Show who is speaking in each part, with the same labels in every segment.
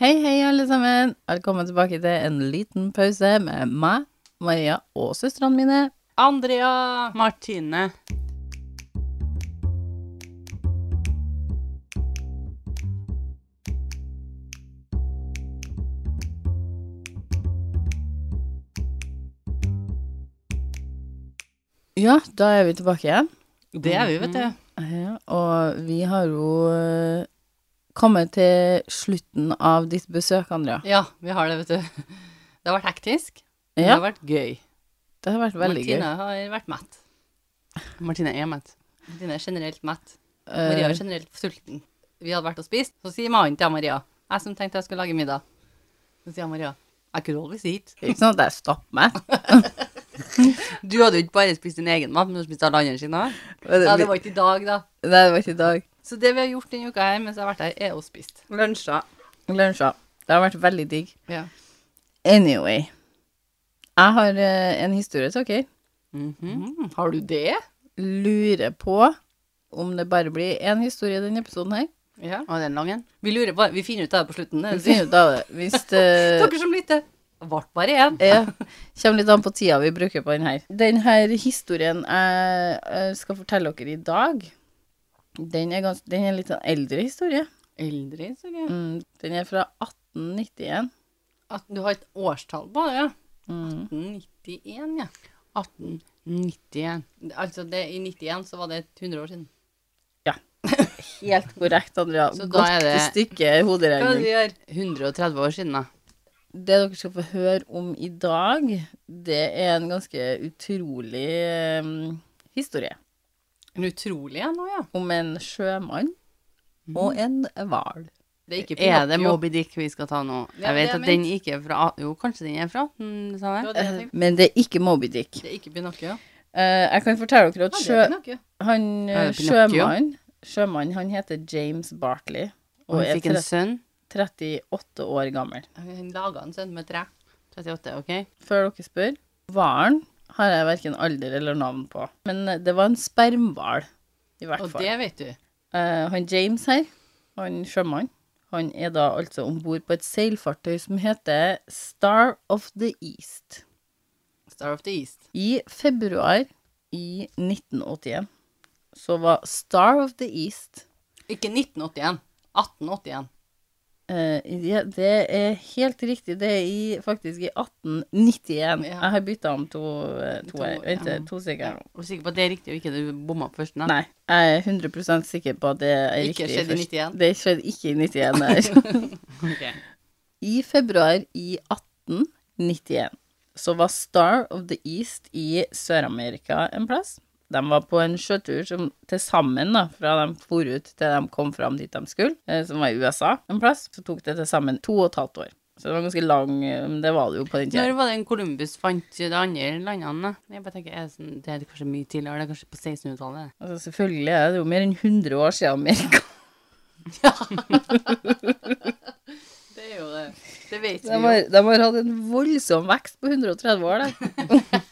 Speaker 1: Hei, hei, alle sammen. Velkommen tilbake til en liten pause med meg, Maria og søstrene mine.
Speaker 2: Andrea Martine.
Speaker 1: Ja, da er vi tilbake igjen. Mhm.
Speaker 2: Det er vi, vet du.
Speaker 1: Ja, og vi har jo eh, kommet til slutten av ditt besøk, Andrea.
Speaker 2: Ja, vi har det, vet du. Det har vært hektisk. men Det
Speaker 1: Ja,
Speaker 2: har vært gøy.
Speaker 1: det har vært veldig
Speaker 2: Martine
Speaker 1: gøy.
Speaker 2: har vært mett. Martine er mett. Martine er generelt mett.
Speaker 1: Eh,
Speaker 2: Maria er generelt sulten. Vi hadde vært og spist, så sier mannen til Maria Jeg som tenkte jeg skulle lage middag. Så sier Maria Jeg kunne always hit.
Speaker 1: Ikke sånn at jeg stopper meg.
Speaker 2: Du hadde jo ikke bare spist din egen mat, men du hadde spist alle andre sine òg.
Speaker 1: Men
Speaker 2: Ja, det
Speaker 1: det
Speaker 2: var ikke i dag, da.
Speaker 1: blir- Nei, det var ikke i dag.
Speaker 2: Så det vi har gjort denne uka her mens jeg har vært her, er å spise.
Speaker 3: Lunsja.
Speaker 1: Lunsja. Det har vært veldig digg.
Speaker 2: Ja.
Speaker 1: Anyway. Jeg har eh, en historie til dere.
Speaker 2: Mhm. Har du det?
Speaker 1: Lurer på om det bare blir én historie i denne episoden her.
Speaker 2: Ja. Og den langen? Vi lurer på, vi finner ut av det på slutten.
Speaker 1: Vi
Speaker 2: det sier-
Speaker 1: finner ut av det. Hvis det
Speaker 2: Dere som lytter, ble bare én.
Speaker 1: ja, kommer litt an på tida vi bruker på den her. Den her historien jeg eh, skal fortelle dere i dag, den er, gans, den er en litt sånn eldre historie.
Speaker 2: Eldre historie.
Speaker 1: Mm, den er fra 1891.
Speaker 2: At du har et årstall på det, ja.
Speaker 1: Mm.
Speaker 2: 91, ja. 1891. Altså, det, i 91 så var det 100 år siden.
Speaker 1: Helt korrekt, Andrea.
Speaker 2: Så da
Speaker 1: Godt
Speaker 2: er det-
Speaker 1: stykke
Speaker 2: Hva er det
Speaker 1: hoderegning.
Speaker 2: vi gjør? 130 år siden, da.
Speaker 1: Det dere skal få høre om i dag, det er en ganske utrolig eh, historie.
Speaker 2: En utrolig en òg, ja.
Speaker 1: Om en sjømann
Speaker 2: Mm.
Speaker 1: og en hval.
Speaker 2: Det er ikke
Speaker 3: Er det
Speaker 2: Pinocchio.
Speaker 3: Moby Dick vi skal ta nå?
Speaker 2: Ja,
Speaker 3: Jeg vet
Speaker 2: det er
Speaker 3: at den ikke er fra Jo, kanskje den er fra 18... sa
Speaker 2: Det
Speaker 3: jeg?
Speaker 2: var det jeg tenkte.
Speaker 1: Eh, Men det er ikke Moby Dick.
Speaker 2: Det er ikke Pinocchio.
Speaker 1: Eh, jeg kan fortelle dere at
Speaker 2: Ja, det
Speaker 1: sjø,
Speaker 2: er Pinocchio.
Speaker 1: han, eh,
Speaker 3: Er det Pinocchio?
Speaker 1: sjømann, sjømann han heter James Bartley
Speaker 3: Og
Speaker 1: og
Speaker 3: hun
Speaker 1: er
Speaker 3: fikk en sønn.
Speaker 1: tre- 38 år gammel.
Speaker 2: Han laga en sønn med tre.
Speaker 3: 38, ok?
Speaker 1: Før dere spør, hvalen har jeg verken alder eller navn på. Men eh, det var en spermhval, i hvert
Speaker 2: Og
Speaker 1: fall.
Speaker 2: det vet du.
Speaker 1: Eh, han James her, han sjømann, han er da altså om bord på et seilfartøy som heter Star of the East.
Speaker 2: Star of the East.
Speaker 1: I februar i 1981 så var Star of the East
Speaker 2: Ikke 1981. 1881.
Speaker 1: eh, ja, Det er helt riktig, det er i, faktisk i 1891.
Speaker 2: Ja.
Speaker 1: Jeg har bytta om to, eh, to,
Speaker 2: To,
Speaker 1: her. Vent,
Speaker 2: ja.
Speaker 1: to stykker.
Speaker 3: Er du sikker på at det er riktig, og ikke du bomma på første navn?
Speaker 1: Nei, jeg er 100 sikker på at det er
Speaker 2: Ikke
Speaker 1: riktig.
Speaker 2: skjedd i
Speaker 1: først.
Speaker 2: 91.
Speaker 1: Det skjedde ikke i 91. Der. I februar i 1891 så var Star of the East i Sør-Amerika en plass. De var på en sjøtur som til sammen, da, fra de for ut til de kom fram dit de skulle, eh, som var i USA en plass, så tok det til sammen to og et halvt år. Så det var ganske lang eh, Men det var det jo på den tida.
Speaker 3: Når var det en Columbus fant de andre landene? da? Jeg bare tenker, er det, sånn, det er kanskje mye tidligere, det er kanskje på 1600-tallet?
Speaker 1: Altså, selvfølgelig er det jo mer enn 100 år siden Amerika
Speaker 2: Det er jo det. Det vet
Speaker 1: De
Speaker 2: vi jo.
Speaker 1: har, de har hatt en voldsom vekst på 130 år, der.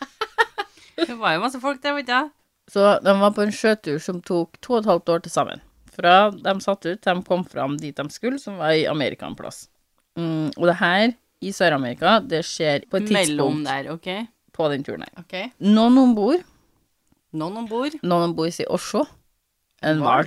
Speaker 3: Det var jo masse folk der, vet du.
Speaker 1: Så de var på en sjøtur som tok to og et halvt år til sammen. Fra de satt ut, til de kom fram dit de skulle, som var i Amerika en plass. Mm, og det her, i Sør-Amerika, det skjer på et
Speaker 3: Mellom
Speaker 1: tidspunkt
Speaker 3: der, ok?
Speaker 1: på den turen her.
Speaker 2: Ok.
Speaker 1: Noen om bord,
Speaker 2: Noen om bord.
Speaker 1: noen om bord sier 'å sjå', en hval.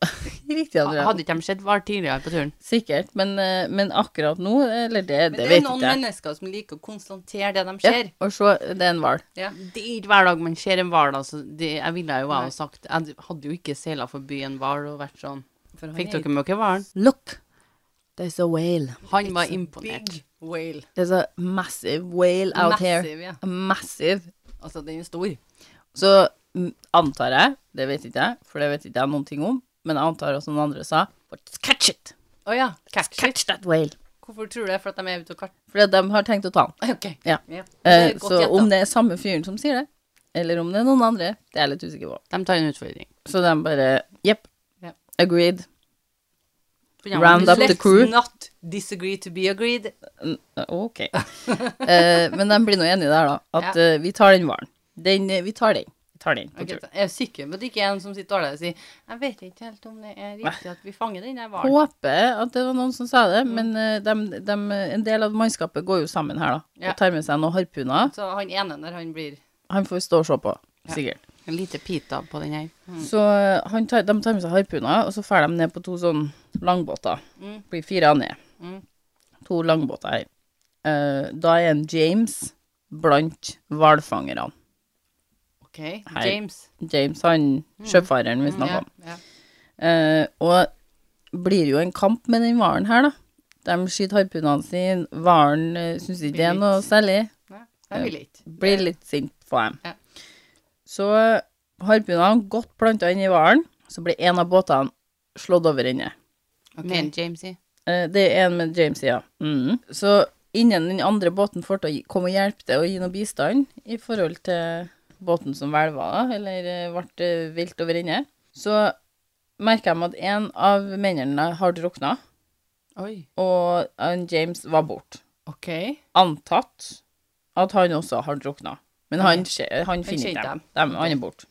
Speaker 1: Riktig, Andrea.
Speaker 3: Hadde ikke de sett hval tidligere på turen?
Speaker 1: Sikkert, men, eh, men akkurat nå, eller det, det
Speaker 2: Men det, er
Speaker 1: vet
Speaker 2: noen
Speaker 1: ikke jeg.
Speaker 2: mennesker som liker å konstatere det de
Speaker 1: Ja,
Speaker 2: ser.
Speaker 1: å sjå, det er en hval.
Speaker 2: Ja.
Speaker 3: Det er ikke hver dag man ser en hval, altså. Det, jeg ville jo jeg ha sagt Jeg hadde jo ikke seila forbi en hval og vært sånn.
Speaker 2: For han
Speaker 3: Fikk
Speaker 2: er
Speaker 3: dere med dere hvalen?
Speaker 1: Look, there's a whale.
Speaker 3: Han var
Speaker 2: a
Speaker 3: imponert.
Speaker 2: Big whale.
Speaker 1: There's a massive whale out here.
Speaker 2: Massiv, ja.
Speaker 1: Massive.
Speaker 2: Altså, den er stor.
Speaker 1: Så mm, antar jeg, det vet ikke jeg, for det vet ikke jeg noen ting om, men jeg antar også noen andre sa, but catch it,
Speaker 2: Å ja. Catch it.
Speaker 1: catch that whale.
Speaker 2: Hvorfor tror du det? For at de er ute og kart...
Speaker 1: Fordi at de har tenkt å ta den.
Speaker 2: Ok.
Speaker 1: Ja.
Speaker 2: Det er
Speaker 1: Eh,
Speaker 2: godt
Speaker 1: så
Speaker 2: gjetta.
Speaker 1: om det er samme fyren som sier det, eller om det er noen andre, det er jeg litt usikker på.
Speaker 3: De tar en utfordring.
Speaker 1: Så de bare, jepp,
Speaker 2: Ja.
Speaker 1: agreed.
Speaker 3: For de-
Speaker 1: Round up the
Speaker 2: Let's
Speaker 1: crew.
Speaker 2: not disagree to be agreed.
Speaker 1: Eh, Ok. Eh, men de blir nå enige der da, at eh, vi tar den varen. Den, eh, vi tar den. tar det inn på
Speaker 2: Ok,
Speaker 1: tur.
Speaker 2: Jeg er sikker på at det ikke er en som sitter der og sier Jeg vet ikke helt om det er riktig at vi fanger den der hvalen.
Speaker 1: Håper at det var noen som sa det, men eh, dem- dem, eh, en del av mannskapet går jo sammen her, da.
Speaker 2: Ja.
Speaker 1: Og tar med seg noen harpuner.
Speaker 2: Så han ene der, han blir
Speaker 1: Han får stå og se på, sikkert.
Speaker 3: En lite pita på den her.
Speaker 2: Mm.
Speaker 1: Så eh, han tar, de tar med seg harpuner, og så drar de ned på to sånn langbåter.
Speaker 2: Mm.
Speaker 1: Blir fire ned.
Speaker 2: Mm.
Speaker 1: To langbåter her. Eh, da er en James blant hvalfangerne.
Speaker 2: OK, James.
Speaker 1: James, han sjøfareren vi snakker om.
Speaker 2: Mm. Ja, ja.
Speaker 1: Eh, og blir jo en kamp med den hvalen her, da. De skyter harpunene sine, hvalen uh, syns ikke det er noe særlig.
Speaker 2: Nei, jeg vil ikke.
Speaker 1: Blir litt sint på dem.
Speaker 2: Ja.
Speaker 1: Så harpunene godt planta inn i hvalen, så blir en av båtene slått over ende.
Speaker 2: Ok.
Speaker 3: Med en James i.
Speaker 1: Eh, det er en med James, ja. Mhm. Så innen den andre båten får til å gi- komme og hjelpe til og gi noe bistand i forhold til båten som hvelva, eller eh, ble eh, vilt over ende, så merker de at en av mennene har drukna.
Speaker 2: Oi.
Speaker 1: og han James var borte.
Speaker 2: OK.
Speaker 1: Antatt at han også har drukna. Men han, skje- han finner
Speaker 2: skjønte
Speaker 1: ikke dem.
Speaker 2: dem.
Speaker 1: dem. Han er borte.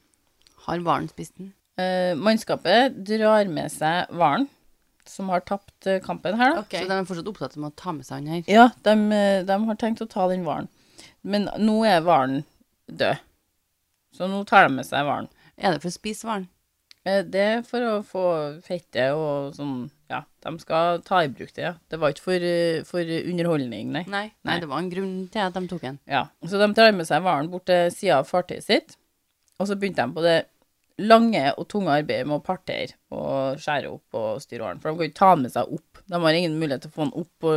Speaker 3: Har hvalen spist den?
Speaker 1: Eh, mannskapet drar med seg hvalen, som har tapt eh, kampen her, da.
Speaker 2: Ok.
Speaker 3: Så de er fortsatt opptatt med å ta med seg han her.
Speaker 1: Ja, de, eh, de har tenkt å ta den hvalen. Men nå er hvalen død. Så nå tar de med seg hvalen.
Speaker 3: Er det for å spise hvalen?
Speaker 1: Eh, Det er for å få fettet og sånn Ja, de skal ta i bruk det, ja. Det var ikke for, eh, for underholdning, nei.
Speaker 3: Nei.
Speaker 1: Nei.
Speaker 3: Nei, det var en grunn til at de tok den.
Speaker 1: Ja, så de tar med seg varen bort til sida av fartøyet sitt, og så begynte de på det lange og tunge arbeidet med å partere og skjære opp og styre varen. For de kan jo ikke ta den med seg opp. De har ingen mulighet til å få den opp på,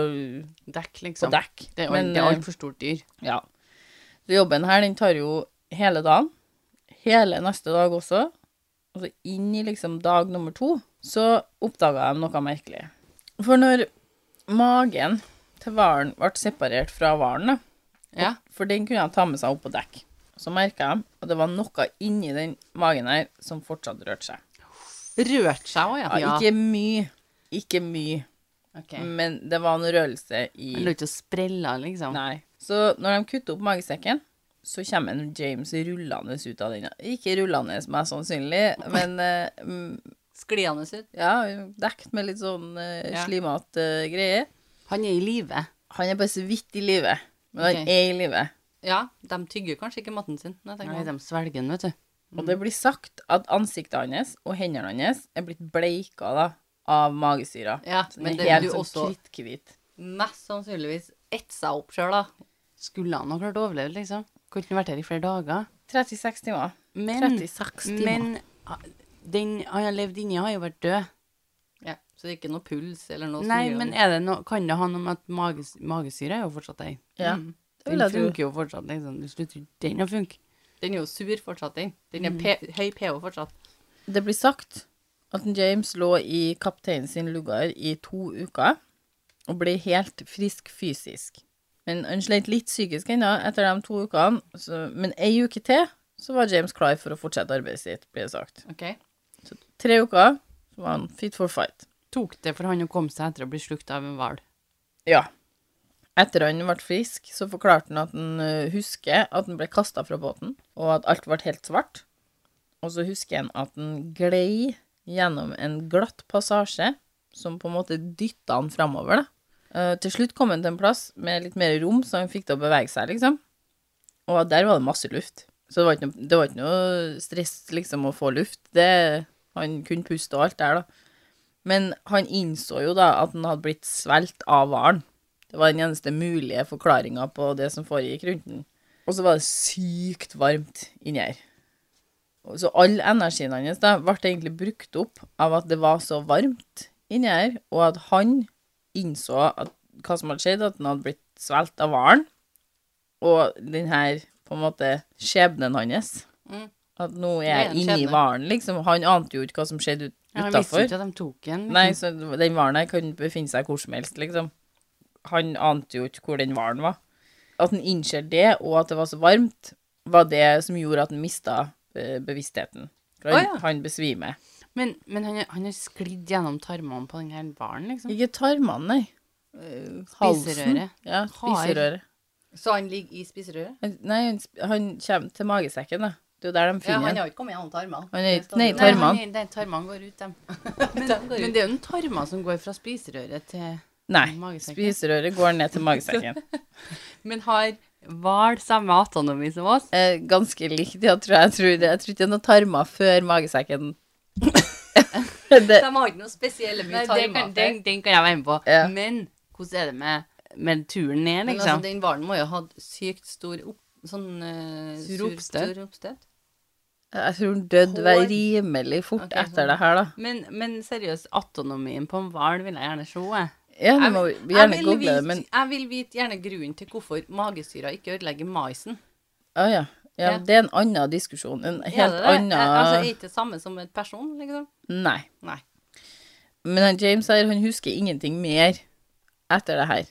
Speaker 3: Dekk,
Speaker 1: på
Speaker 3: liksom.
Speaker 1: dekk.
Speaker 3: Det er jo-
Speaker 1: Men,
Speaker 3: det er altfor stort dyr.
Speaker 1: eh, ja. Så jobben her, den tar jo hele dagen. Hele neste dag også. Og så inn i liksom dag nummer to, så oppdaga de noe merkelig. For når magen til hvalen ble separert fra hvalen, da,
Speaker 3: Ja.
Speaker 1: for den kunne han ta med seg opp på dekk. Så merka jeg at det var noe inni den magen her som fortsatt rørte seg.
Speaker 3: Rørt seg òg, ja.
Speaker 1: Ja, Ikke mye, ikke mye,
Speaker 3: Ok.
Speaker 1: men det var en rørelse i
Speaker 3: Den lå ikke og sprella, liksom.
Speaker 1: Nei. Så når de kutter opp magesekken, så kommer en James rullende ut av den. Ikke rullende, mest sannsynlig, men eh, mm,
Speaker 2: Skliende ut.
Speaker 1: ja, dekt med litt sånn eh,
Speaker 2: Ja.
Speaker 1: slimete eh, greier.
Speaker 3: Han er i live.
Speaker 1: Han er bare så vidt i live, men
Speaker 2: Ok.
Speaker 1: han er i live.
Speaker 2: Ja, de tygger kanskje ikke maten sin. når jeg tenker
Speaker 3: Nei,
Speaker 2: meg om.
Speaker 3: de svelger den, vet du.
Speaker 1: Og det blir sagt at ansiktet hans og hendene hans er blitt bleika da, av magesyra.
Speaker 2: Ja,
Speaker 1: Så den
Speaker 2: men
Speaker 1: er
Speaker 2: det vil
Speaker 1: helt
Speaker 2: jo
Speaker 1: sånn
Speaker 2: også
Speaker 1: kritthvit.
Speaker 2: mest sannsynligvis ette seg opp sjøl, da.
Speaker 3: Skulle han ha klart å overleve, liksom? Kunne ikke han vært her i flere dager?
Speaker 1: 36 timer.
Speaker 3: Men,
Speaker 1: 36 timer.
Speaker 3: men ah, den han har levd inni, har jo vært død.
Speaker 2: Ja, så det er ikke noe puls eller noe som
Speaker 3: Nei,
Speaker 2: gjør
Speaker 3: men
Speaker 2: noe.
Speaker 3: er det no, kan det ha noe med at mages, magesyre er jo fortsatt der?
Speaker 1: ja.
Speaker 2: Mm.
Speaker 1: Det vil
Speaker 3: Den
Speaker 1: jeg tro.
Speaker 3: funker jo fortsatt, liksom. Du slutter jo ikke den å funke. Mm.
Speaker 2: Den er jo sur fortsatt, den. Den er pe høy pH fortsatt.
Speaker 1: Det blir sagt at en James lå i kapteinen sin lugar i to uker og ble helt frisk fysisk. Men han slet litt psykisk ennå etter de to ukene, så, men ei uke til så var James klar for å fortsette arbeidet sitt, blir det sagt.
Speaker 2: OK?
Speaker 1: Tre uker så var han fit for fight.
Speaker 3: Tok det for han å komme seg etter å bli slukt av en hval.
Speaker 1: Ja. Etter han ble frisk, så forklarte han at han eh, husker at han ble kasta fra båten, og at alt ble helt svart. Og så husker han at han glei gjennom en glatt passasje som på en måte dytta han framover, da. Eh, til slutt kom han til en plass med litt mer rom, så han fikk til å bevege seg, liksom. Og der var det masse luft. Så det var ikke noe, det var ikke noe stress, liksom, å få luft. Det, han kunne puste og alt der, da. Men han innså jo da at han hadde blitt svelt av hvalen. Det var den eneste mulige forklaringa på det som foregikk rundt den. Og så var det sykt varmt inni her. Og Så all energien hans da ble egentlig brukt opp av at det var så varmt inni her, og at han innså at, hva som hadde skjedd, at han hadde blitt svelt av hvalen, og den her på en måte skjebnen hans.
Speaker 2: Mm.
Speaker 1: At nå er
Speaker 2: er en
Speaker 1: jeg inni
Speaker 2: skjebne.
Speaker 1: hvalen, liksom. Han ante jo ikke hva som skjedde ut,
Speaker 3: Ja, han visste
Speaker 1: utafor.
Speaker 3: jo ikke at de tok den. liksom.
Speaker 1: Nei, så den hvalen her kan befinne seg hvor som helst, liksom. Han ante jo ikke hvor den hvalen var. At han innser det, og at det var så varmt, var det som gjorde at han mista eh, bevisstheten. For han,
Speaker 2: Å, ja.
Speaker 1: han besvimer.
Speaker 3: Men, men han, han har sklidd gjennom tarmene på den her hvalen, liksom.
Speaker 1: Ikke tarmene, nei. Eh, halsen.
Speaker 3: Spiserøret.
Speaker 1: Ja, spiserøret.
Speaker 2: Så han ligger i spiserøret?
Speaker 1: Han- Nei, han, sp- han kommer til magesekken, da. Det er jo der de
Speaker 2: Ja,
Speaker 1: finner
Speaker 2: han
Speaker 1: den.
Speaker 2: har ikke kommet gjennom tarmene.
Speaker 1: Han er ikke-
Speaker 2: Det
Speaker 1: nei,
Speaker 2: står jo-
Speaker 1: tarmene.
Speaker 3: Nei, nei, tarmene går ut, dem.
Speaker 2: Men,
Speaker 3: Men det er jo den tarma som går fra spiserøret til
Speaker 1: Nei.
Speaker 3: Magesekken.
Speaker 1: Spiserøret går ned til magesekken.
Speaker 3: Men har hval samme autonomi som oss?
Speaker 1: Eh, ganske likt, ja, tror jeg. Jeg tror, det- jeg tror ikke det er noen tarmer før magesekken. det,
Speaker 2: De har ikke noe spesielle mye
Speaker 3: Nei, den
Speaker 2: tarmer.
Speaker 3: kan, den, den kan jeg være med på.
Speaker 1: Ja.
Speaker 3: Men hvordan er det med, med turen ned,
Speaker 2: Men altså,
Speaker 3: liksom?
Speaker 2: den hvalen må jo ha hatt sykt stor opp, sånn eh,
Speaker 3: Sur
Speaker 2: sur-
Speaker 3: oppstøt.
Speaker 2: sur oppstøt.
Speaker 1: jeg tror den døde var rimelig fort
Speaker 2: Ok,
Speaker 1: etter
Speaker 2: sånn.
Speaker 1: det her, da.
Speaker 3: Men, men seriøst, autonomien på en hval vil jeg gjerne se. jeg.
Speaker 1: Ja, du
Speaker 2: Jeg
Speaker 1: må
Speaker 2: vil- jeg
Speaker 1: gjerne
Speaker 2: vil
Speaker 1: google det,
Speaker 2: vite-
Speaker 1: men
Speaker 2: Jeg vil vite gjerne grunnen til hvorfor magesyra ikke ødelegger maisen.
Speaker 1: Å ja. ja.
Speaker 2: Ja.
Speaker 1: Det er en annen diskusjon. En
Speaker 2: Er
Speaker 1: helt
Speaker 2: det det?
Speaker 1: annen
Speaker 2: Er- Altså, er ikke det samme som et person, liksom?
Speaker 1: Nei.
Speaker 2: Nei.
Speaker 1: Men han James her, han husker ingenting mer etter det her,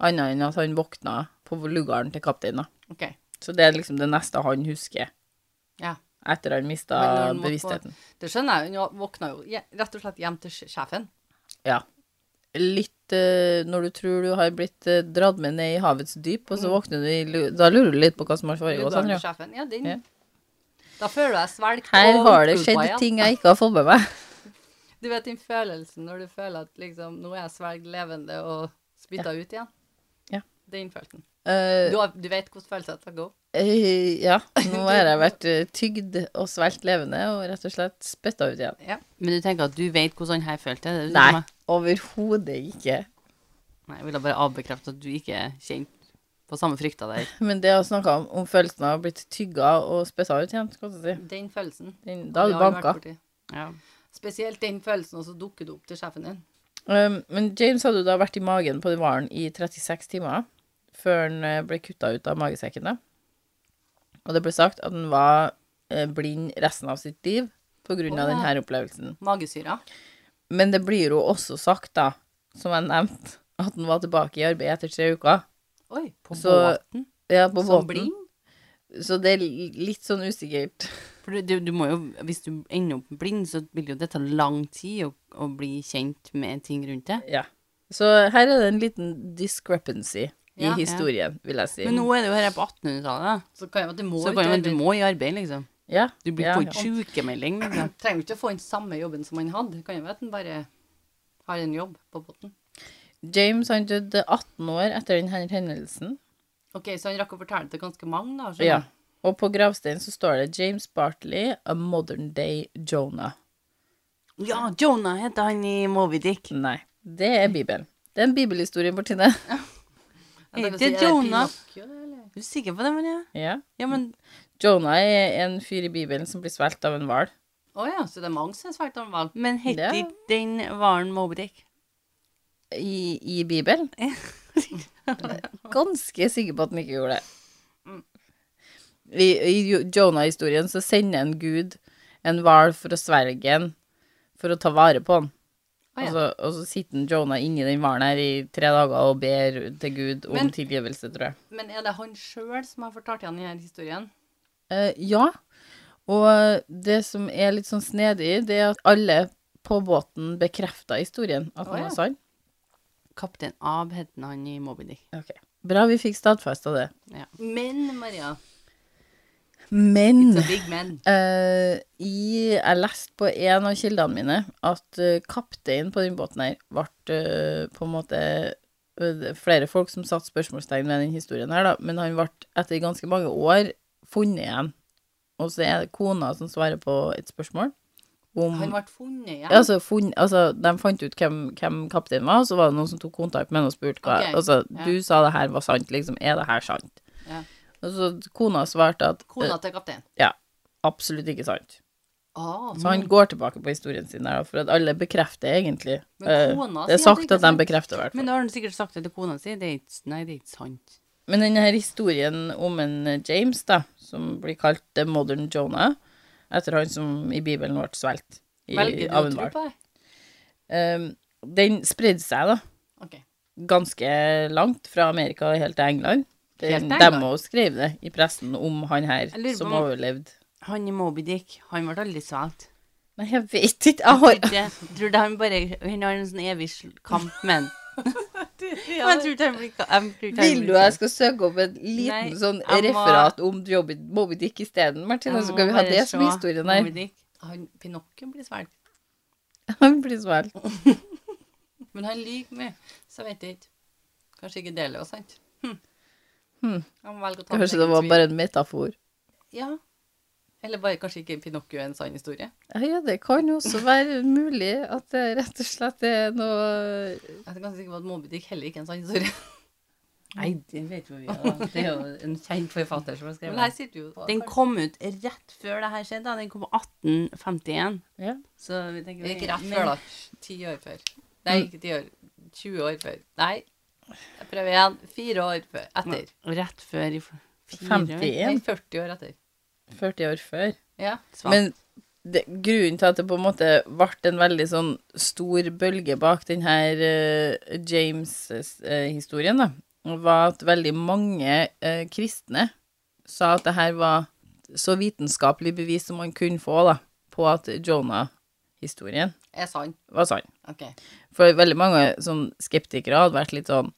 Speaker 1: annet enn at han våkna på lugaren til kapteinen.
Speaker 2: Ok.
Speaker 1: Så det er liksom det neste han husker
Speaker 2: Ja.
Speaker 1: etter han
Speaker 2: Men når
Speaker 1: mista
Speaker 2: han må på-
Speaker 1: bevisstheten.
Speaker 2: Det skjønner jeg. jo. Hun våkna jo je- rett og slett hjem til sj- sjefen.
Speaker 1: Ja. Litt eh, når du tror du har blitt eh, dratt med ned i havets dyp, og så våkner du i lu- Da lurer du litt på hva som har foregått.
Speaker 2: Mm.
Speaker 1: Sandra.
Speaker 2: Lugaren til sjefen. Ja, den.
Speaker 1: sånn, Ja.
Speaker 2: Da føler jeg svelgt
Speaker 1: Her
Speaker 2: og
Speaker 1: har det
Speaker 2: oppgulpa
Speaker 1: skjedd
Speaker 2: igjen.
Speaker 1: ting jeg ikke har fått med meg.
Speaker 2: Du vet den følelsen når du føler at liksom, nå er jeg svelget levende og spytta ut igjen?
Speaker 1: Ja.
Speaker 2: Den følelsen.
Speaker 1: Eh,
Speaker 2: Du, har, du vet hvordan følelsen skal gå?
Speaker 1: eh, ja, nå har jeg vært eh, tygd og svelgt levende og rett og slett spytta ut igjen.
Speaker 2: Ja.
Speaker 3: Men du tenker at du vet hvordan han her følte det? er det du
Speaker 1: Nei,
Speaker 3: tenker meg?
Speaker 1: overhodet ikke.
Speaker 3: Nei. Jeg ville bare avbekrefte at du ikke kjente på samme frykta der.
Speaker 1: Men det å snakke om, om følelsen av å blitt tygga og spytta ut igjen, skal jeg si.
Speaker 2: Den følelsen.
Speaker 1: Den, da er
Speaker 2: Det
Speaker 1: du
Speaker 2: har jeg vært
Speaker 1: banka.
Speaker 2: borti.
Speaker 3: Ja.
Speaker 2: Spesielt den følelsen, og så dukker du opp til sjefen din.
Speaker 1: Um, men James hadde jo da vært i magen på den hvalen i 36 timer før han eh, ble kutta ut av magesekken. da. Og det ble sagt at han var eh, blind resten av sitt liv pga.
Speaker 2: Å,
Speaker 1: denne
Speaker 2: ja.
Speaker 1: her opplevelsen.
Speaker 2: Magesyra.
Speaker 1: Men det blir jo også sagt, da, som jeg nevnte, at han var tilbake i arbeid etter tre uker.
Speaker 2: Oi, på
Speaker 1: Så, ja, på båten.
Speaker 2: Som blind?
Speaker 1: Så det er li- litt sånn usikkert.
Speaker 3: For du, du, du må jo, hvis du ender opp blind, så vil jo det ta lang tid å, å bli kjent med ting rundt det.
Speaker 1: Ja. Så her er det en liten discrepancy i
Speaker 2: Ja, ja.
Speaker 1: historien, vil jeg si.
Speaker 3: Men nå er det jo her på 1800-tallet.
Speaker 2: Så kan jeg at du må
Speaker 3: Så
Speaker 2: ut i
Speaker 3: bare, men du
Speaker 2: arbeid.
Speaker 3: må i arbeid, liksom.
Speaker 1: ja,
Speaker 3: Du blir
Speaker 1: ja,
Speaker 3: på
Speaker 1: ja.
Speaker 3: en sykemelding, liksom.
Speaker 2: Trenger jo ikke å få den samme jobben som han hadde. Kan jo være at han bare har en jobb på båten.
Speaker 1: James han døde 18 år etter denne hendelsen.
Speaker 2: Ok, så han rakk å fortelle det til ganske mange, da. skjønner
Speaker 1: Ja.
Speaker 2: jeg.
Speaker 1: Og på gravsteinen så står det James Bartley, a modern day Jonah.
Speaker 3: Ja, Jonah heter han i Moby Dick.
Speaker 1: Nei, det er Bibelen. Det er en bibelhistorie, Martine.
Speaker 2: Jeg tenkte å
Speaker 3: Hey, det
Speaker 2: si,
Speaker 3: er
Speaker 2: det
Speaker 3: Jonah.
Speaker 2: Pinocchio, det, eller?
Speaker 3: Er du sikker på det, Maria?
Speaker 1: Ja.
Speaker 3: Ja, men
Speaker 1: Jonah er en fyr i Bibelen som blir svelget av en hval.
Speaker 2: Å ja, så det er mange som er svært normal.
Speaker 3: Men
Speaker 1: Ja.
Speaker 3: heter ikke den varen Mobrick?
Speaker 1: I, I Bibelen. Ganske sikker på at han ikke gjorde det.
Speaker 2: Mm.
Speaker 1: I, i Jo- Jonah-historien så sender en gud en hval for å sverge han, for å ta vare på han.
Speaker 2: Å, ja.
Speaker 1: og, så, og så sitter han Jonah inni den hvalen her i tre dager og ber til Gud om
Speaker 2: Men-
Speaker 1: tilgivelse, tror jeg.
Speaker 2: Men er det han sjøl som har fortalt igjen denne historien?
Speaker 1: Eh, ja. Og det som er litt sånn snedig, det er at alle på båten bekrefta historien, at
Speaker 2: Å,
Speaker 1: den
Speaker 2: ja.
Speaker 1: var sann.
Speaker 3: Kaptein Ab het han i Moby Dick.
Speaker 1: Ok. Bra vi fikk stadfesta det.
Speaker 2: Men, Maria.
Speaker 1: Men
Speaker 2: It's a big man.
Speaker 1: Eh, i, jeg leste på en av kildene mine at eh, kapteinen på den båten her ble eh, på en måte eh, Flere folk som satte spørsmålstegn ved den historien her, da, men han ble etter ganske mange år funnet igjen. Og så er det kona som svarer på et spørsmål om
Speaker 2: Han ble funnet igjen.
Speaker 1: ja, altså, funn- altså, de fant ut hvem, hvem kapteinen var, og så var det noen som tok kontakt med henne og spurte hva
Speaker 2: Ok,
Speaker 1: Altså,
Speaker 2: ja.
Speaker 1: du sa det her var sant, liksom. Er det her sant?
Speaker 2: Ja.
Speaker 1: Og så kona svarte at
Speaker 2: Kona til kapteinen.
Speaker 1: eh, Ja, absolutt ikke sant.
Speaker 2: Ah,
Speaker 1: Så han går tilbake på historien sin her, da, for at alle bekrefter egentlig.
Speaker 2: Men
Speaker 1: Eh,
Speaker 2: kona
Speaker 1: det er
Speaker 2: sier at det
Speaker 1: sagt
Speaker 2: ikke
Speaker 1: at
Speaker 2: er
Speaker 1: de
Speaker 2: sant.
Speaker 1: bekrefter, i hvert
Speaker 3: Men
Speaker 1: fall.
Speaker 3: da har han sikkert sagt det til kona si. Det er ikke, nei, det er ikke sant.
Speaker 1: Men denne her historien om en eh, James, da, som blir kalt The Modern Jonah, etter han som i Bibelen ble svelget i-
Speaker 2: velger du
Speaker 1: av
Speaker 2: å
Speaker 1: en
Speaker 2: tro
Speaker 1: hval,
Speaker 2: på det?
Speaker 1: Eh, den spredde seg da
Speaker 2: Ok.
Speaker 1: ganske langt fra Amerika og helt til England.
Speaker 2: Helt
Speaker 1: Den-
Speaker 2: til
Speaker 1: De
Speaker 2: England?
Speaker 1: òg skrev det i pressen om han her
Speaker 3: Jeg lurer på
Speaker 1: som
Speaker 3: om-
Speaker 1: overlevde.
Speaker 3: Han i Moby Dick, han ble aldri solgt.
Speaker 1: Nei, jeg vet ikke. Jeg har
Speaker 3: Tror du han bare Han har en sånn evig sl- kamp med han. Men jeg tror ikke jeg blir ka- jeg tror ikke jeg
Speaker 1: Vil
Speaker 3: blir
Speaker 1: du jeg
Speaker 3: sånn.
Speaker 1: skal søke opp et liten
Speaker 3: Nei,
Speaker 1: sånn
Speaker 3: jeg må-
Speaker 1: referat om Joby- Moby Dick isteden, Martine?
Speaker 3: Jeg
Speaker 1: Så
Speaker 3: må
Speaker 1: kan vi ha
Speaker 3: bare
Speaker 1: det som
Speaker 3: se
Speaker 1: historien
Speaker 3: Moby
Speaker 1: her.
Speaker 3: Dick.
Speaker 2: Han, Pinocchio blir svelget.
Speaker 1: Han blir så vel.
Speaker 2: Men han lyver mye, så jeg vet ikke. Kanskje ikke deler oss, sant? Hm.
Speaker 1: Hm.
Speaker 2: Jeg må velge å ta
Speaker 1: Kanskje
Speaker 2: min
Speaker 1: det
Speaker 2: egen
Speaker 1: var
Speaker 2: tvil.
Speaker 1: bare en metafor.
Speaker 2: Ja. Eller bare kanskje ikke Pinocchio er en sann historie.
Speaker 1: Ja, ja, det kan jo også være mulig at det rett og slett er noe
Speaker 2: Jeg er ganske sikker på at Moby Dick heller ikke er en sann historie. Nei, det vet jo vi. Ja. Det er jo en kjent forfatter som har skrevet Men her sitter vi jo på
Speaker 3: Den kom ut rett før det her skjedde. da. Den kom på 1851.
Speaker 1: Ja.
Speaker 3: Så vi tenker
Speaker 2: Det gikk rett før, da. Ti år før. Nei,
Speaker 1: Hm.
Speaker 2: ikke ti år. 20 år før. Nei, jeg prøver igjen. Fire år før. Etter.
Speaker 3: Rett før i f- fire år.
Speaker 1: 51,
Speaker 2: Nei, 40 år etter.
Speaker 1: 40 år før.
Speaker 2: Ja.
Speaker 3: Svart.
Speaker 1: Men det, grunnen til at det på en måte ble en veldig sånn stor bølge bak den her eh, James-historien, da, var at veldig mange eh, kristne sa at det her var så vitenskapelig bevis som man kunne få da, på at Jonah-historien
Speaker 2: Er sann.
Speaker 1: var sann.
Speaker 2: OK.
Speaker 1: For veldig mange sånn, skeptikere hadde vært litt sånn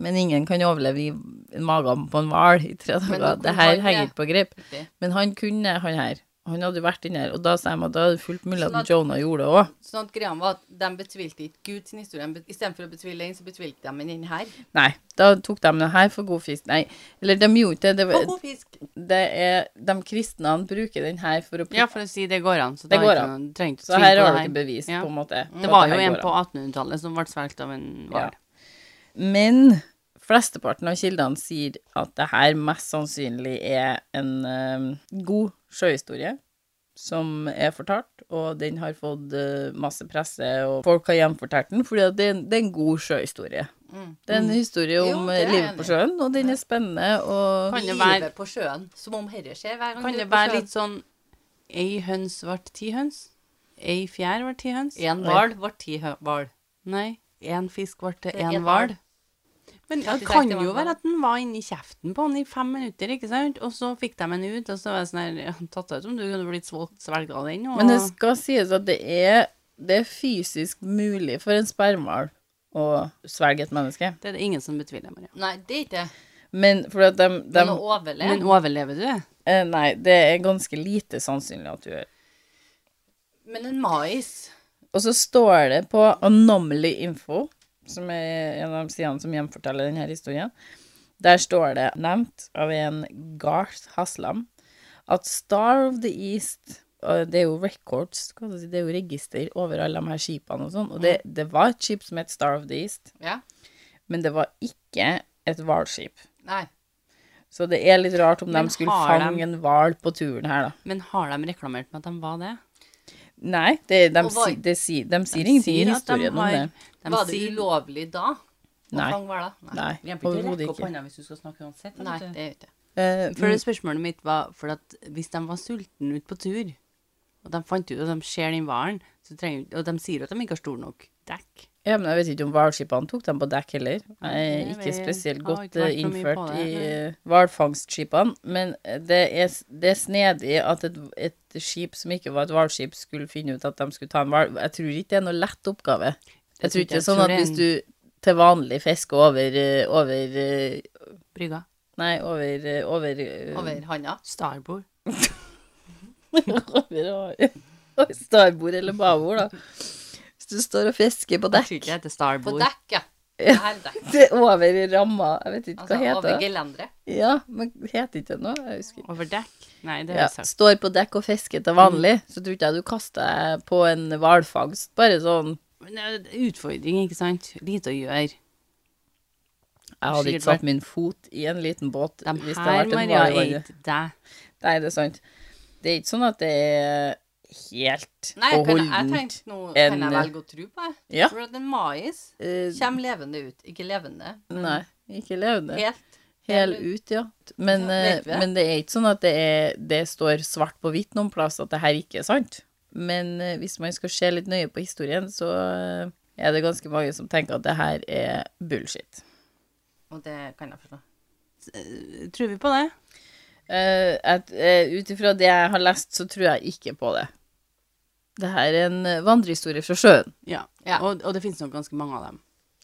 Speaker 1: Men ingen kan overleve i magen på en hval i tre
Speaker 2: Men
Speaker 1: dager.
Speaker 2: nå
Speaker 1: Det
Speaker 2: kom
Speaker 1: her
Speaker 2: han, ja.
Speaker 1: henger ikke på grep.
Speaker 2: Riktig.
Speaker 1: Men han kunne, han her. Han hadde jo vært inni her, og da sa jeg meg at da er det fullt mulig
Speaker 2: Sånn
Speaker 1: at
Speaker 2: at-
Speaker 1: Jonah gjorde det òg.
Speaker 2: Sånn at greia var at de betvilte ikke Guds historie. De be- Istedenfor å betvile den, så betvilte de den her.
Speaker 1: Nei, da tok de det her for god fisk. Nei, eller de gjorde ikke det.
Speaker 2: Og
Speaker 1: Det,
Speaker 2: god fisk.
Speaker 1: det er de kristne han bruker den her for å
Speaker 3: Ja, for å si det går an. Så
Speaker 1: Det
Speaker 3: da er
Speaker 1: går
Speaker 3: ikke
Speaker 1: an.
Speaker 3: noe- trenger ikke
Speaker 1: Så
Speaker 3: tvil
Speaker 1: her
Speaker 3: på
Speaker 1: har
Speaker 3: det
Speaker 1: du ikke bevis,
Speaker 3: Ja. Mm.
Speaker 1: på en måte. på
Speaker 3: Det
Speaker 1: at
Speaker 3: var jo
Speaker 1: her
Speaker 3: en
Speaker 1: går
Speaker 3: på
Speaker 1: an.
Speaker 3: 1800-tallet som ble svelget av en hval.
Speaker 1: Men flesteparten av kildene sier at det her mest sannsynlig er en eh, god sjøhistorie som er fortalt, og den har fått eh, masse presse, og folk har gjenfortalt den, fordi at det, er en- det er en god sjøhistorie.
Speaker 2: Mm.
Speaker 1: Det er en historie om
Speaker 2: Jo, det
Speaker 1: eh,
Speaker 2: er jeg
Speaker 1: livet på
Speaker 2: enig i.
Speaker 1: sjøen, og den er spennende, og
Speaker 3: Kan det være-
Speaker 2: Livet på sjøen. Som om herre skjer hver gang
Speaker 3: Kan
Speaker 2: du
Speaker 3: det
Speaker 2: er på
Speaker 3: være
Speaker 2: sjøen.
Speaker 3: litt sånn Ei høns ble ti høns? Ei fjær ble ti høns?
Speaker 2: En hval ble ti hø- hval.
Speaker 3: Nei, én fisk ble til
Speaker 2: Det er
Speaker 3: én
Speaker 2: en
Speaker 3: hval.
Speaker 2: hval.
Speaker 3: Men
Speaker 2: Ja,
Speaker 3: det
Speaker 2: de tenkte
Speaker 3: kan
Speaker 2: det var
Speaker 3: jo
Speaker 2: en hval.
Speaker 3: være at den var inni kjeften på han i fem minutter, ikke sant? Og så fikk de henne ut, og så var jeg sånn her ja, Tatt ut som du kunne blitt svelget av den, og
Speaker 1: Men det skal sies at det er, det er fysisk mulig for en spermhval å svelge et menneske.
Speaker 3: det er det ingen som betviler, Maria.
Speaker 2: Nei, det er ikke det.
Speaker 1: Men fordi at de, de
Speaker 2: Men å overleve
Speaker 3: Men overlever du?
Speaker 1: eh, Nei, det er ganske lite sannsynlig at du gjør.
Speaker 2: Men en mais
Speaker 1: Og så står det på Anomaly Info, som er en av sidene som gjenforteller denne historien. Der står det nevnt av en Garth Haslam at Star of the East og Det er jo records, hva skal jeg si, det er jo register over alle de her skipene og sånn. Og det, det var et skip som het Star of the East,
Speaker 2: Ja.
Speaker 1: men det var ikke et hvalskip.
Speaker 2: Nei.
Speaker 1: Så det er litt rart om
Speaker 3: Men
Speaker 1: de skulle
Speaker 3: har de-
Speaker 1: fange en hval på turen her, da.
Speaker 3: Men har de reklamert med at de var det?
Speaker 1: Nei, det, de,
Speaker 2: Og hva-
Speaker 1: si, det si, de sier
Speaker 3: De
Speaker 1: ingenting i
Speaker 3: sier at de
Speaker 1: historien om
Speaker 3: har-
Speaker 1: det.
Speaker 3: de
Speaker 2: Var det
Speaker 3: sier-
Speaker 2: ulovlig da? Å
Speaker 1: Nei.
Speaker 2: fange hvaler?
Speaker 1: Nei, overhodet ikke.
Speaker 3: hvis du skal snakke uansett.
Speaker 2: Nei, det er ikke
Speaker 1: Eh,
Speaker 3: For det spørsmålet mitt var for at hvis de var sultne ute på tur, og de fant ut at de ser den hvalen, så trenger- og de sier at de ikke har stor nok dekk
Speaker 1: Ja, men jeg vet ikke om hvalskipene tok dem på dekk heller. Jeg er
Speaker 3: Nei,
Speaker 1: ikke
Speaker 3: vi
Speaker 1: spesielt
Speaker 3: har
Speaker 1: godt eh,
Speaker 3: ikke vært så mye
Speaker 1: innført
Speaker 3: på
Speaker 1: i
Speaker 3: det,
Speaker 1: eh, hvalfangstskipene, men eh, det er, s- det er snedig at et, et skip som ikke var et hvalskip, skulle finne ut at de skulle ta en hval. Jeg tror ikke det er noe lett oppgave. Jeg tror
Speaker 3: tror ikke
Speaker 1: ikke det
Speaker 3: jeg
Speaker 1: er sånn
Speaker 3: tror
Speaker 1: at
Speaker 3: det er
Speaker 1: hvis du til vanlig fisker over eh, over eh,
Speaker 3: brygga.
Speaker 1: Nei, over eh, over eh,
Speaker 2: over handa.
Speaker 3: Starboard.
Speaker 1: over, over Starbord eller babord, da. Hvis du står og fisker på
Speaker 3: Jeg
Speaker 1: dekk
Speaker 3: tror ikke det heter
Speaker 2: På
Speaker 3: starboard.
Speaker 2: dekk, ja. Det her er dekk.
Speaker 1: Det er over ramma Jeg vet ikke
Speaker 2: Altså
Speaker 1: hva heter det
Speaker 2: over gelenderet.
Speaker 1: Ja, men heter ikke det noe? Jeg husker ikke.
Speaker 3: Over dekk? Nei, det har
Speaker 1: Ja,
Speaker 3: jeg sagt.
Speaker 1: står på dekk og fisker til vanlig,
Speaker 2: Mm.
Speaker 1: så tror ikke jeg du kaster deg på en hvalfangst. Bare sånn
Speaker 3: Men det er en utfordring, ikke sant? Lite å gjøre.
Speaker 1: Jeg hadde
Speaker 3: Sikkert
Speaker 1: ikke satt min fot i en liten båt
Speaker 3: De
Speaker 1: hvis det hadde
Speaker 3: her,
Speaker 1: vært en
Speaker 3: Maria,
Speaker 1: hval i vannet.
Speaker 3: eit deg.
Speaker 1: Nei, det er sant. Det er ikke sånn at det er helt
Speaker 2: Nei, jeg, kan, jeg
Speaker 1: beholdent.
Speaker 2: tenkte nå
Speaker 1: En-
Speaker 2: Kan jeg velge å tro på det?
Speaker 1: Ja.
Speaker 2: For at en mais
Speaker 1: Eh,
Speaker 2: kommer levende ut. Ikke levende, men
Speaker 1: Nei, ikke levende.
Speaker 2: helt.
Speaker 1: Hel ut, ja. Men,
Speaker 2: Ja, vet vi
Speaker 1: eh,
Speaker 2: det?
Speaker 1: men det er ikke sånn at det, er, det står svart på hvitt noen plass at det her ikke er sant. Men eh, hvis man skal se litt nøye på historien, så eh, er det ganske mange som tenker at det her er bullshit.
Speaker 2: Og det kan jeg forstå.
Speaker 3: Tror vi på det?
Speaker 1: Uh, Ut ifra det jeg har lest, så tror jeg ikke på det. Det her er en eh, vandrehistorie fra sjøen.
Speaker 3: Ja.
Speaker 2: Ja.
Speaker 3: Og, og det finnes nok ganske mange av dem.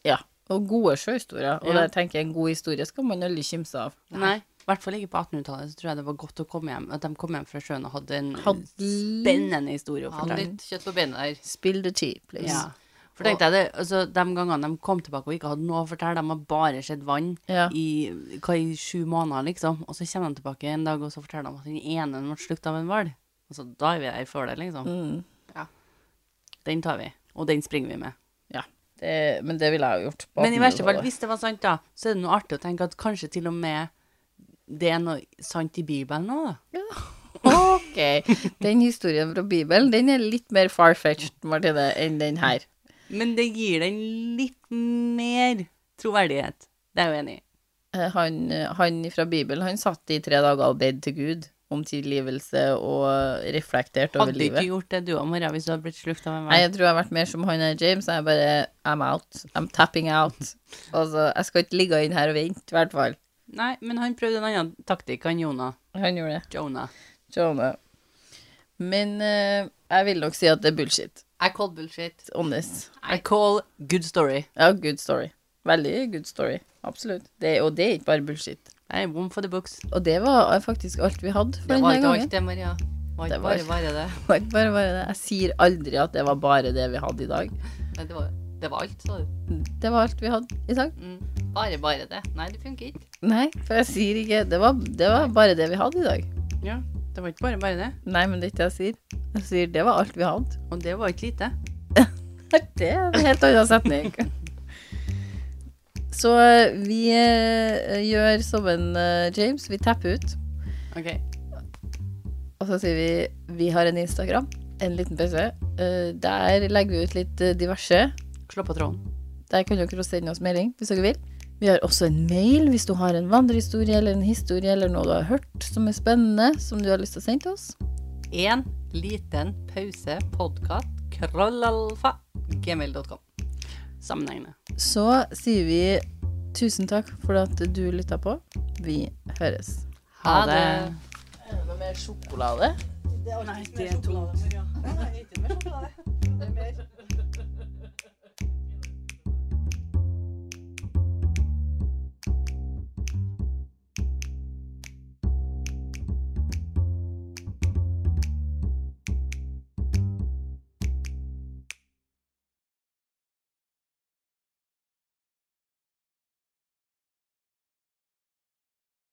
Speaker 1: Ja. Og gode sjøhistorier. Og
Speaker 3: Ja.
Speaker 1: det tenker jeg en god historie skal man aldri kimse av.
Speaker 3: Nei. I hvert fall ikke på 1800-tallet. Så tror jeg det var godt å komme hjem. At de kom hjem fra sjøen og hadde en
Speaker 1: Hadde-
Speaker 3: spennende historie å
Speaker 2: Ha
Speaker 3: fortelle.
Speaker 2: litt kjøtt på beinet der.
Speaker 1: Spill the tea, please.
Speaker 3: Ja. For tenkte jeg det, altså, De gangene de kom tilbake og ikke hadde noe å fortelle, de har bare sett vann
Speaker 1: Ja.
Speaker 3: i, hva, i sju måneder, liksom. Og så kommer de tilbake en dag og så forteller de at den ene ble slukt av en hval. Altså, da er vi der for det, liksom.
Speaker 1: Mm.
Speaker 3: Den tar vi. Og den springer vi med.
Speaker 1: ja. Det, men det ville jeg jo gjort. på
Speaker 3: Men i verste fall,
Speaker 1: 1800-tallet.
Speaker 3: hvis det var sant, da, så er det noe artig å tenke at kanskje til og med det er noe sant i Bibelen òg, da.
Speaker 1: Ok. Den historien fra Bibelen, den er litt mer far-fetched, Martine, enn den her.
Speaker 3: Men det gir den litt mer troverdighet. Det er jeg jo enig i.
Speaker 1: Eh, Han, han fra Bibelen, han satt i tre dager og bed til Gud om tilgivelse og reflekterte over
Speaker 3: Hadde du ikke
Speaker 1: livet.
Speaker 3: gjort det du og Maria hvis du hadde blitt slukt av en
Speaker 1: Nei,
Speaker 3: hval.
Speaker 1: jeg tror jeg har vært mer som han er James. Jeg er bare I'm out. I'm tapping out. Altså, jeg skal ikke ligge inn her og vente, i hvert fall.
Speaker 3: Nei, men han prøvde en annen taktikk, han Jonah.
Speaker 1: Han gjorde det.
Speaker 3: Jonah.
Speaker 1: Skjønner. Men eh, jeg vil nok si at det er bullshit.
Speaker 2: I call bullshit.
Speaker 1: Honest.
Speaker 3: I call good story.
Speaker 1: Ja, good story. Veldig good story. Absolutt. Det, og det er ikke bare bullshit.
Speaker 3: I one for the books.
Speaker 1: Og det var faktisk alt vi hadde for
Speaker 2: Det var
Speaker 1: denne
Speaker 2: ikke alt
Speaker 1: gangen.
Speaker 2: det, Maria. Det var
Speaker 1: Det var-
Speaker 2: ikke bare bare det.
Speaker 1: Det var ikke bare, bare det. Jeg sier aldri at det var bare det vi hadde i dag.
Speaker 2: Nei, Det var, det var alt, sa du.
Speaker 1: Det var alt vi hadde i dag.
Speaker 2: Mm. Bare bare det. Nei, det funker ikke.
Speaker 1: Nei, for jeg sier ikke Det var, det var bare det vi hadde i dag.
Speaker 3: Ja, det var ikke bare bare det.
Speaker 1: Nei, men det er ikke det jeg sier. Jeg sier det var alt vi hadde.
Speaker 3: Og det var ikke lite.
Speaker 1: Det er en helt annen setning. Så eh, vi eh, gjør som en eh, James. Vi tapper ut.
Speaker 3: Ok.
Speaker 1: Og så sier vi vi har en Instagram, en liten PC. Eh, Der legger vi ut litt eh, diverse.
Speaker 3: Slå på tråden.
Speaker 1: Der kan dere også sende oss melding hvis dere vil. Vi har også en mail hvis du har en vandrehistorie eller en historie eller noe du har hørt som er spennende, som du har lyst til å sende til oss.
Speaker 2: En liten pause podkast krøllalfa gmail.com.
Speaker 3: Sammenhengende.
Speaker 1: Så sier vi tusen takk for at du lytta på. Vi høres.
Speaker 2: Ha det.
Speaker 1: Er det noe mer sjokolade?
Speaker 3: Nei, det er tomt.